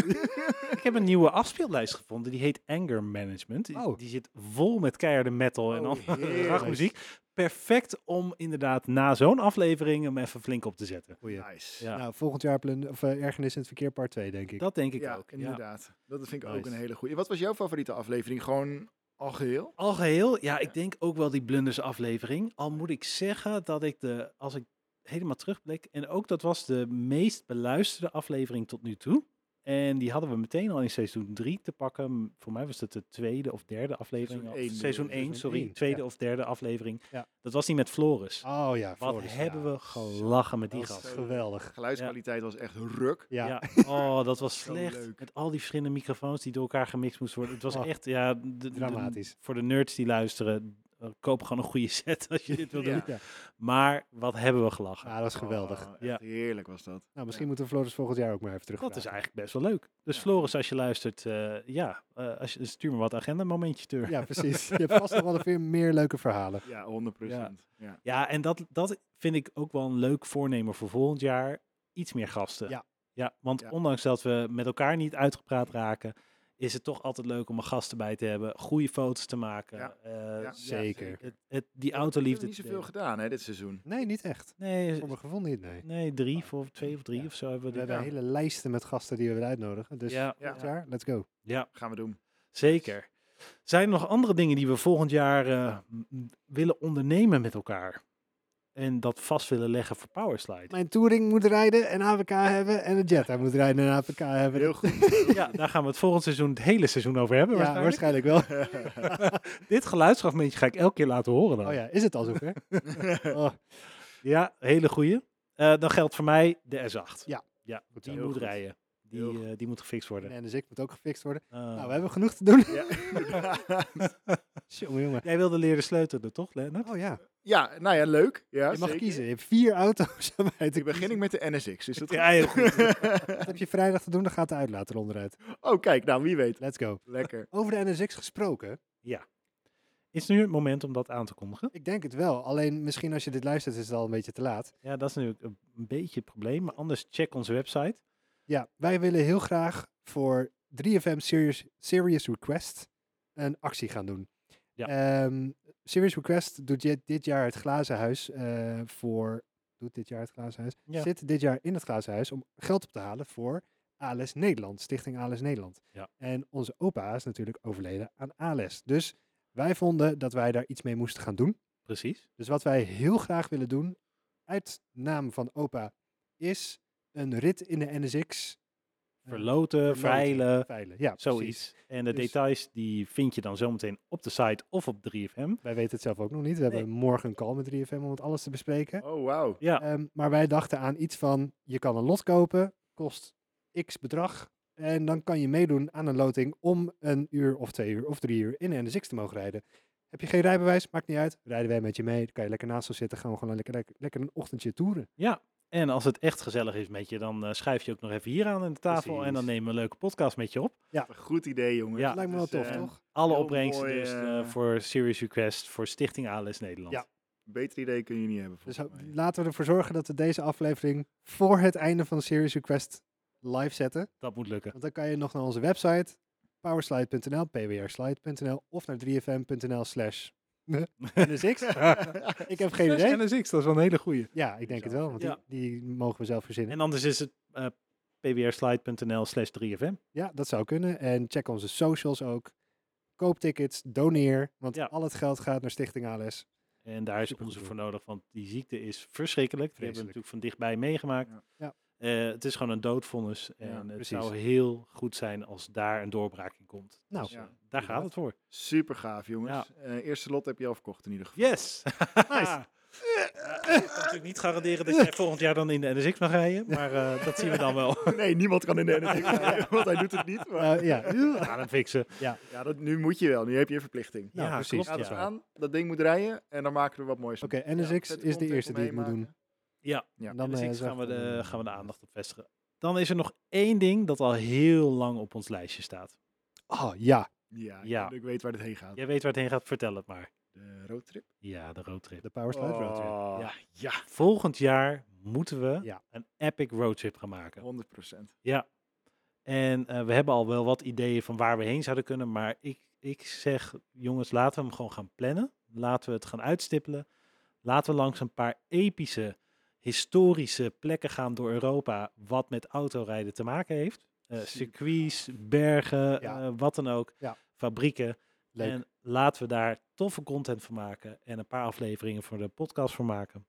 S2: Ik heb een nieuwe afspeellijst gevonden, die heet Anger Management. Die,
S3: Oh.
S2: die zit vol met keiharde metal en
S1: Oh,
S2: (laughs) andere
S1: heerlijk.
S2: dragmuziek. Perfect om inderdaad na zo'n aflevering hem even flink op te zetten.
S3: Goeie.
S1: Nice.
S2: Ja.
S3: Nou, volgend jaar plun- of, eh, ergernis in het verkeer part 2, denk ik.
S2: Dat denk ik
S1: Ja,
S2: ook. Ja.
S1: inderdaad. Dat vind ik ook
S3: Nice.
S1: een hele goede. Wat was jouw favoriete aflevering? Gewoon al geheel?
S2: Al geheel, ja, ik denk ook wel die blunders aflevering. Al moet ik zeggen dat ik de, als ik helemaal terugblik, en ook dat was de meest beluisterde aflevering tot nu toe. En die hadden we meteen al in seizoen 3 te pakken. M- Voor mij was dat de tweede of derde aflevering.
S1: Seizoen
S2: Seizoen
S1: één
S2: 1,
S1: bedoel je?
S2: seizoen 1
S3: Seizoen
S2: sorry.
S3: één,
S2: tweede
S3: ja.
S2: of derde aflevering.
S3: Ja.
S2: Dat was die met Floris.
S3: Oh ja,
S2: Wat
S3: Floris,
S2: hebben
S3: ja.
S2: we gelachen met die
S3: Dat was
S2: gast.
S3: geweldig.
S1: Geluidskwaliteit was echt ruk.
S3: Ja,
S2: Ja. Oh, dat was
S1: Zo
S2: slecht.
S1: leuk.
S2: Met al die verschillende microfoons die door elkaar gemixt moesten worden. Het was
S3: Oh,
S2: echt, ja... de- de-
S3: dramatisch.
S2: voor de nerds die luisteren, eh, koop gewoon een goede set als je dit wil doen.
S1: Ja.
S3: Ja.
S2: Maar wat hebben we gelachen.
S3: Ah, dat is geweldig.
S1: Oh, echt
S2: Ja.
S1: Heerlijk was dat.
S3: nou, misschien moeten we Floris volgend jaar ook maar even terug.
S2: dat is eigenlijk best wel leuk. Dus Floris, als je luistert, eh, ja, eh, als je, stuur me wat agendamomentjes door. Ja.
S3: Ja,
S2: (laughs)
S3: precies. Je hebt vast nog wel veel meer leuke verhalen.
S1: Ja, 100 procent. Ja.
S2: en dat, dat vind ik ook wel een leuk voornemen voor volgend jaar. Iets meer gasten.
S3: Ja.
S2: ja want
S1: Ja.
S2: ondanks dat we met elkaar niet uitgepraat raken, is het toch altijd leuk om een gast erbij te hebben. Goede foto's te maken.
S1: Ja.
S2: eh,
S1: Ja,
S3: zeker.
S2: het, het, die
S1: We hebben
S2: autoliefde.
S1: niet
S2: te
S1: zoveel
S2: delen.
S1: gedaan hè, dit seizoen.
S3: Nee, niet echt.
S2: Nee,
S3: Voor mijn gevoel niet, nee.
S2: nee, drie, voor, twee of drie
S3: Ja.
S2: of zo hebben
S3: We
S2: we dit
S3: hebben
S2: gedaan.
S3: hele lijsten met gasten die we willen uitnodigen. Dus
S2: Ja.
S3: volgend
S1: Ja.
S3: jaar, let's go.
S2: ja.
S1: Gaan we doen.
S2: Zeker. Zijn er nog andere dingen die we volgend jaar eh, m- m- willen ondernemen met elkaar? En dat vast willen leggen voor Powerslide?
S3: Mijn touring moet rijden en APK hebben. En een Jetta moet rijden en APK hebben.
S1: Heel
S3: (laughs)
S1: goed.
S2: Ja, daar gaan we het volgend seizoen, het hele seizoen over hebben.
S3: ja,
S2: waarschijnlijk.
S3: waarschijnlijk wel.
S2: (laughs) Dit geluidsfragmentje ga ik elke keer laten horen dan.
S3: Oh
S2: ja.
S3: ja, is het al
S1: (laughs)
S3: zover? Oh,
S2: hele goeie. Eh, dan geldt voor mij de S8.
S3: Ja.
S2: ja
S3: Goed zo.
S2: die
S1: Heel
S2: moet
S1: goed.
S2: rijden. Die,
S1: Heel goed.
S2: eh, die moet gefixt worden.
S3: en dus ik moet ook gefixt worden.
S2: Eh,
S3: Nou, we hebben genoeg te doen.
S1: ja.
S3: (laughs) Jongen, jongen.
S2: Jij wilde leren sleutelen, toch,
S3: (laughs)
S2: Lennart?
S3: Oh ja,
S1: (laughs) ja, nou ja, leuk. Ja,
S3: je mag
S1: zeker.
S3: kiezen. Je hebt vier auto's (laughs) aan mij te
S1: Ik begin ik met de NSX. Is dat
S2: Ja, heel goed.
S3: Dat heb je vrijdag te doen, dan gaat de uitlaat eronder uit.
S1: Oh, kijk, nou wie weet.
S3: Let's go.
S2: (laughs)
S1: Lekker.
S3: Over de NSX gesproken.
S2: Is nu het moment om dat aan te kondigen?
S3: Ik denk het wel. Alleen misschien als je dit luistert is het al een beetje te laat.
S2: Ja, dat is natuurlijk een een beetje het probleem. Maar anders check onze website.
S3: Ja, wij willen heel graag voor 3FM Serious, Serious Request een actie gaan doen.
S2: Ja.
S3: Ehm, Serious Request doet je- dit jaar het glazen huis eh, voor. Doet dit jaar het glazen huis?
S2: Ja.
S3: Zit dit jaar in het glazen huis om geld op te halen voor ALS Nederland, Stichting ALS Nederland.
S2: Ja.
S3: En onze opa is natuurlijk overleden aan ALS. Dus wij vonden dat wij daar iets mee moesten gaan doen.
S2: Precies.
S3: Dus wat wij heel graag willen doen, uit naam van opa, is een rit in de NSX. eh,
S2: Verloten,
S3: verloten,
S2: veilen,
S3: veilen. Ja, precies.
S2: zoiets. En de
S3: Dus-
S2: details die vind je dan zometeen op de site of op 3FM.
S3: Wij weten het zelf ook nog niet. We hebben morgen een call met 3FM om het alles te bespreken.
S1: Oh, wauw.
S2: Ja,
S3: Ehm, maar wij dachten aan iets van, je kan een lot kopen, kost x bedrag. En dan kan je meedoen aan een loting om een uur of twee uur of drie uur in de NSX te mogen rijden. Heb je geen rijbewijs, maakt niet uit. Rijden wij met je mee, dan kan je lekker naast ons zitten. Gaan we gewoon lekker, lekker, lekker een ochtendje toeren.
S2: En als het echt gezellig is met je, dan eh, schuif je ook nog even hier aan aan de tafel en dan
S3: Precies.
S2: nemen we een leuke podcast met je op.
S1: Een goed idee, jongen.
S2: Ja.
S3: Dat lijkt me wel
S1: Dus,
S3: tof,
S1: eh,
S3: toch?
S2: Alle
S1: Heel
S2: opbrengsten
S1: mooi,
S2: dus eh,
S1: eh,
S2: voor Serious Request voor Stichting ALS Nederland.
S3: Ja.
S1: Beter idee kun je niet hebben.
S3: Dus
S1: volgens
S3: ho-
S1: mij.
S3: laten we ervoor zorgen dat we deze aflevering voor het einde van Series Request live zetten.
S2: Dat moet lukken.
S3: Want dan kan je nog naar onze website powerslide.nl, pwrslide.nl of naar 3fm.nl slash
S2: (laughs)
S3: NSX. Ik heb geen idee.
S1: NSX, dat is wel een hele goeie.
S3: Ja, ik denk het wel, want die,
S2: Ja.
S3: die mogen we zelf verzinnen.
S2: En anders is het eh pbrslide.nl slash 3fm.
S3: Ja, dat zou kunnen. En check onze socials ook. Koop tickets, doneer, want
S2: Ja.
S3: al het geld gaat naar
S2: (laughs)
S3: Stichting ALS.
S2: En daar is
S3: Supergoed
S2: onderzoek voor
S3: idee.
S2: nodig, want die ziekte is verschrikkelijk. Die hebben we
S3: Vreselijk.
S2: natuurlijk van dichtbij meegemaakt.
S1: Ja.
S3: Ja.
S2: Eh, het is gewoon een doodvonnis. En het
S3: precies.
S2: zou heel goed zijn als daar een doorbraak in komt.
S3: Nou,
S2: Dus, eh,
S1: Ja,
S2: daar gaat het voor.
S1: Super gaaf, jongens. Eh, eerste lot heb je al verkocht in ieder geval.
S2: (laughs) Yes! nice! Ik kan natuurlijk niet garanderen dat jij volgend jaar dan in de NSX mag rijden, maar eh, dat zien we dan wel.
S1: (laughs) Nee, niemand kan in de NSX rijden, (laughs) want hij doet het niet. Maar
S3: Nou, ja.
S2: We gaan hem fixen.
S1: (laughs) ja, dat, nu moet je wel. Nu heb je een verplichting.
S2: Ja,
S3: Nou,
S2: klopt,
S3: precies.
S1: Raad
S2: ja.
S1: eens aan, dat ding moet rijden en dan maken we wat moois. van.
S3: Oké,
S1: Ja,
S3: NSX
S1: zet
S3: is de
S1: content
S3: eerste die ik moet
S1: omheen
S3: doen.
S1: maken.
S2: Ja,
S1: Ja,
S3: Dan, eh,
S2: NSX
S3: zeg
S2: gaan we,
S3: dan,
S2: de,
S3: eh,
S2: gaan we de aandacht op vestigen. Dan is er nog één ding dat al heel lang op ons lijstje staat.
S3: Oh ja,
S1: Ja,
S2: Ja.
S1: ik weet waar dit heen gaat.
S2: Jij weet waar het heen gaat, vertel het maar.
S1: De roadtrip.
S2: Ja, de roadtrip.
S3: de
S1: Oh.
S3: Powerslide Roadtrip.
S1: ja. ja,
S2: Volgend jaar moeten we
S3: Ja.
S2: een epic roadtrip gaan maken.
S1: 100 procent.
S2: Ja. En eh, we hebben al wel wat ideeën van waar we heen zouden kunnen. Maar ik, ik zeg, jongens, laten we hem gewoon gaan plannen. Laten we het gaan uitstippelen. Laten we langs een paar epische, historische plekken gaan door Europa. Wat met autorijden te maken heeft. Eh,
S1: Super
S2: circuits, bergen,
S3: Ja.
S2: eh, wat dan ook.
S3: Ja.
S2: Fabrieken.
S3: Leuk.
S2: En laten we daar toffe content van maken. En een paar afleveringen voor de podcast van maken.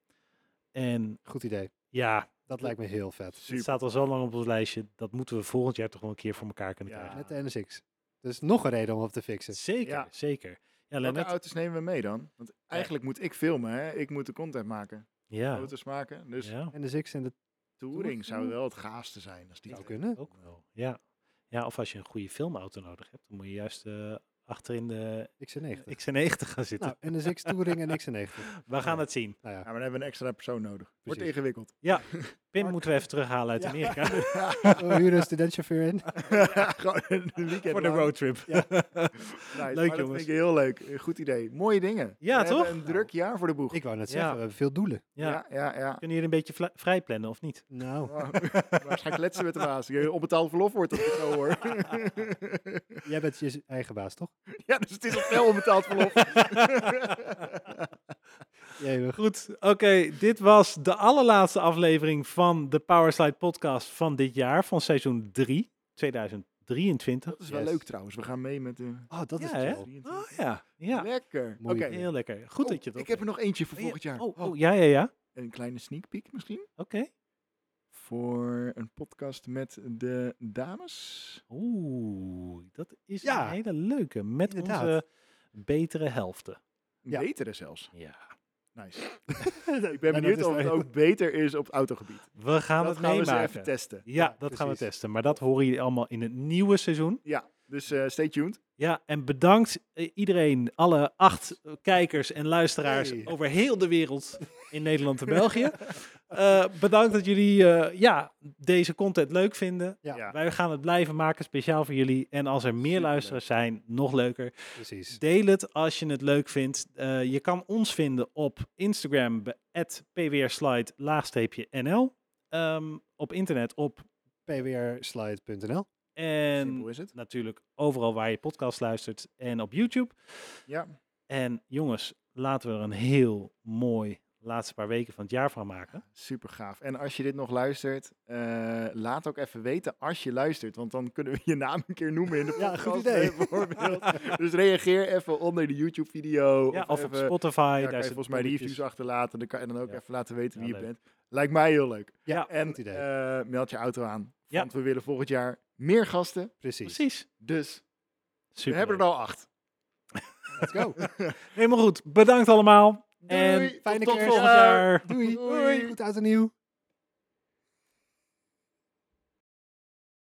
S2: En
S3: Goed idee.
S2: ja,
S3: Dat lijkt me heel vet.
S2: het staat al zo lang op ons lijstje. Dat moeten we volgend jaar toch wel een keer voor elkaar kunnen
S1: Ja.
S2: krijgen.
S3: Met de NSX. Dus nog een reden om op te fixen.
S2: Zeker,
S1: Ja.
S2: zeker. Ja,
S1: Welke
S2: Lennart.
S1: auto's nemen we mee dan? Want eigenlijk moet ik filmen, hè? Ik moet de content maken.
S2: Ja.
S1: Auto's maken. Dus
S2: ja,
S3: NSX en de
S1: touring zou wel het gaafste zijn. Als die
S3: zou
S1: het
S3: kunnen.
S2: ook wel. Ja. ja, of als je een goede filmauto nodig hebt, dan moet je juist eh, achterin de
S3: XC90.
S2: XC90 gaan zitten.
S3: (laughs) Nou, NSX Touring en XC90.
S2: (laughs) we gaan
S3: ja.
S2: het zien.
S3: Nou
S1: Ja,
S3: ja,
S1: maar dan hebben we een extra persoon nodig. Wordt
S3: Precies.
S1: ingewikkeld.
S2: Pim
S3: Mark.
S2: moeten we even terughalen
S1: (laughs)
S2: uit
S1: Ja.
S2: Amerika.
S3: we huren een studentchauffeur in.
S1: Gewoon (laughs) een weekend
S2: (laughs) voor de
S1: lang.
S2: roadtrip. (laughs)
S3: Ja.
S1: Nice,
S2: Leuk,
S1: maar dat
S2: jongens.
S1: vind ik heel leuk. Een Goed idee. Mooie dingen.
S2: Ja,
S1: we
S2: toch?
S1: Hebben een druk jaar voor de boeg.
S3: Ik wou net
S2: Ja.
S3: zeggen, we hebben veel doelen.
S2: Ja.
S1: ja, ja. ja.
S2: Kunnen jullie een beetje vla- vrij plannen of niet?
S1: (laughs)
S3: Nou,
S1: Oh, maar ga kletsen met de baas. Je onbetaald verlof wordt dat ik zo hoor.
S3: jij bent je eigen baas, toch?
S1: ja, dus het is nog wel onbetaald verlof.
S3: Jee,
S2: Goed, oké. dit was de allerlaatste aflevering van de Powerslide podcast van dit jaar, van seizoen 3, 2023.
S1: Dat is wel
S3: Yes.
S1: leuk trouwens. We gaan mee met de
S3: Oh, dat is
S2: Ja, hè?
S3: chill.
S1: 23.
S2: Oh ja, ja.
S1: Lekker. Oké.
S3: Mooi idee.
S2: Heel lekker. Goed
S1: Oh,
S2: dat je dat
S1: Ik heb er nog eentje voor volgend jaar.
S2: Oh, oh, ja, ja, ja. Oké.
S1: Een kleine sneak peek misschien. Voor een podcast met de dames.
S2: Oeh, dat is
S3: Ja,
S2: een hele leuke. Met
S3: inderdaad.
S2: onze betere helften.
S3: Ja.
S1: Betere zelfs.
S2: Ja.
S1: Nice. (laughs) ik ben benieuwd
S3: is
S1: of het
S3: leuk.
S1: ook beter is op het autogebied.
S2: We gaan
S1: dat
S2: het
S1: gaan we
S2: meemaken.
S1: eens even testen.
S2: Ja,
S3: Ja,
S2: dat gaan we
S3: precies.
S2: testen. Maar dat horen jullie allemaal in het nieuwe seizoen.
S1: Ja, dus eh, stay tuned.
S2: Ja, en bedankt eh, iedereen, alle acht eh, kijkers en luisteraars
S3: Hey.
S2: over heel de wereld in Nederland en België.
S1: (laughs)
S2: Eh, bedankt dat jullie eh, ja, deze content leuk vinden.
S3: Ja.
S1: Ja.
S2: Wij gaan het blijven maken, speciaal voor jullie. En als er meer
S1: Superleuk.
S2: luisteraars zijn, nog leuker.
S3: Precies.
S2: Deel het als je het leuk vindt. Eh, je kan ons vinden op Instagram, pwrslide-nl. Ehm, op internet op
S3: pwrslide.nl.
S2: en
S1: Simpel is het.
S2: natuurlijk overal waar je podcast luistert en op YouTube.
S1: Ja,
S2: En jongens, laten we er een heel mooi laatste paar weken van het jaar van maken.
S1: super gaaf. En als je dit nog luistert, eh, laat ook even weten als je luistert. Want dan kunnen we je naam een keer noemen in de
S3: Ja,
S1: podcast.
S3: goed idee.
S2: (laughs)
S1: bijvoorbeeld. dus reageer even onder de YouTube-video.
S2: Ja, of op
S1: even,
S2: Spotify.
S1: daar kan
S2: daar
S1: je
S2: zit
S1: volgens mij
S2: polletjes.
S1: reviews achterlaten. Dan kan, en dan ook
S2: Ja.
S1: even laten weten wie
S2: Ja,
S1: je
S2: leuk.
S1: bent. Lijkt mij heel leuk.
S2: Ja,
S1: en
S3: goed idee.
S1: eh, meld je auto aan.
S2: Ja.
S1: Want we willen volgend jaar meer gasten.
S3: Precies.
S2: Precies.
S1: Dus we
S2: Super.
S1: hebben er al acht.
S3: Let's go.
S2: Helemaal goed. Bedankt allemaal. En
S1: Doei,
S3: fijne
S2: tot
S3: kerst.
S2: volgend jaar.
S3: Doei.
S1: Doei.
S3: Goed oud en nieuw.